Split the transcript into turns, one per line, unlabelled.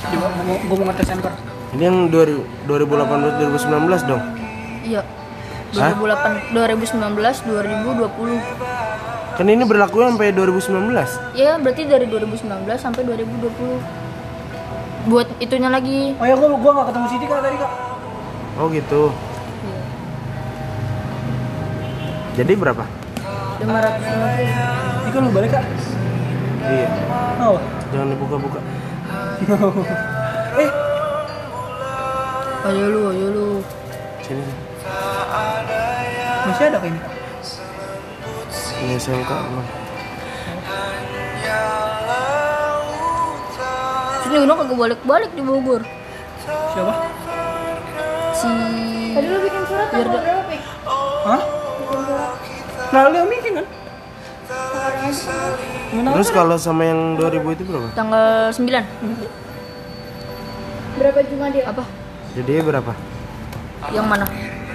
Coba gue mau ngetes ember.
Ini yang 2000 2018 2019 dong.
Iya.
Hah?
2008, 2019, 2020.
Kan ini berlaku sampai 2019.
Ya, berarti dari 2019 sampai 2020. Buat itunya lagi.
Oh ya gue gue nggak ketemu Siti kak tadi kak.
Oh gitu. Jadi berapa?
Ini
550.
kan lu balik kak.
Iya.
Oh.
Jangan dibuka-buka.
eh
Ayo lu, ayo lu.
Sini.
masih ada kayak ini. Kak?
Ini SMK. Bang.
Terus Nino kagak balik-balik di Bogor.
Siapa?
Si
Tadi lu bikin surat
Biar
tanggal
da-
berapa, Pik?
Hah?
Bikin surat
Nah lu yang bikin kan?
tanggalnya aja tanggal.
Menang
Terus kalau sama yang 2000 itu berapa?
tanggal 9
Berapa Jumat dia?
apa?
Jadi berapa?
Yang mana?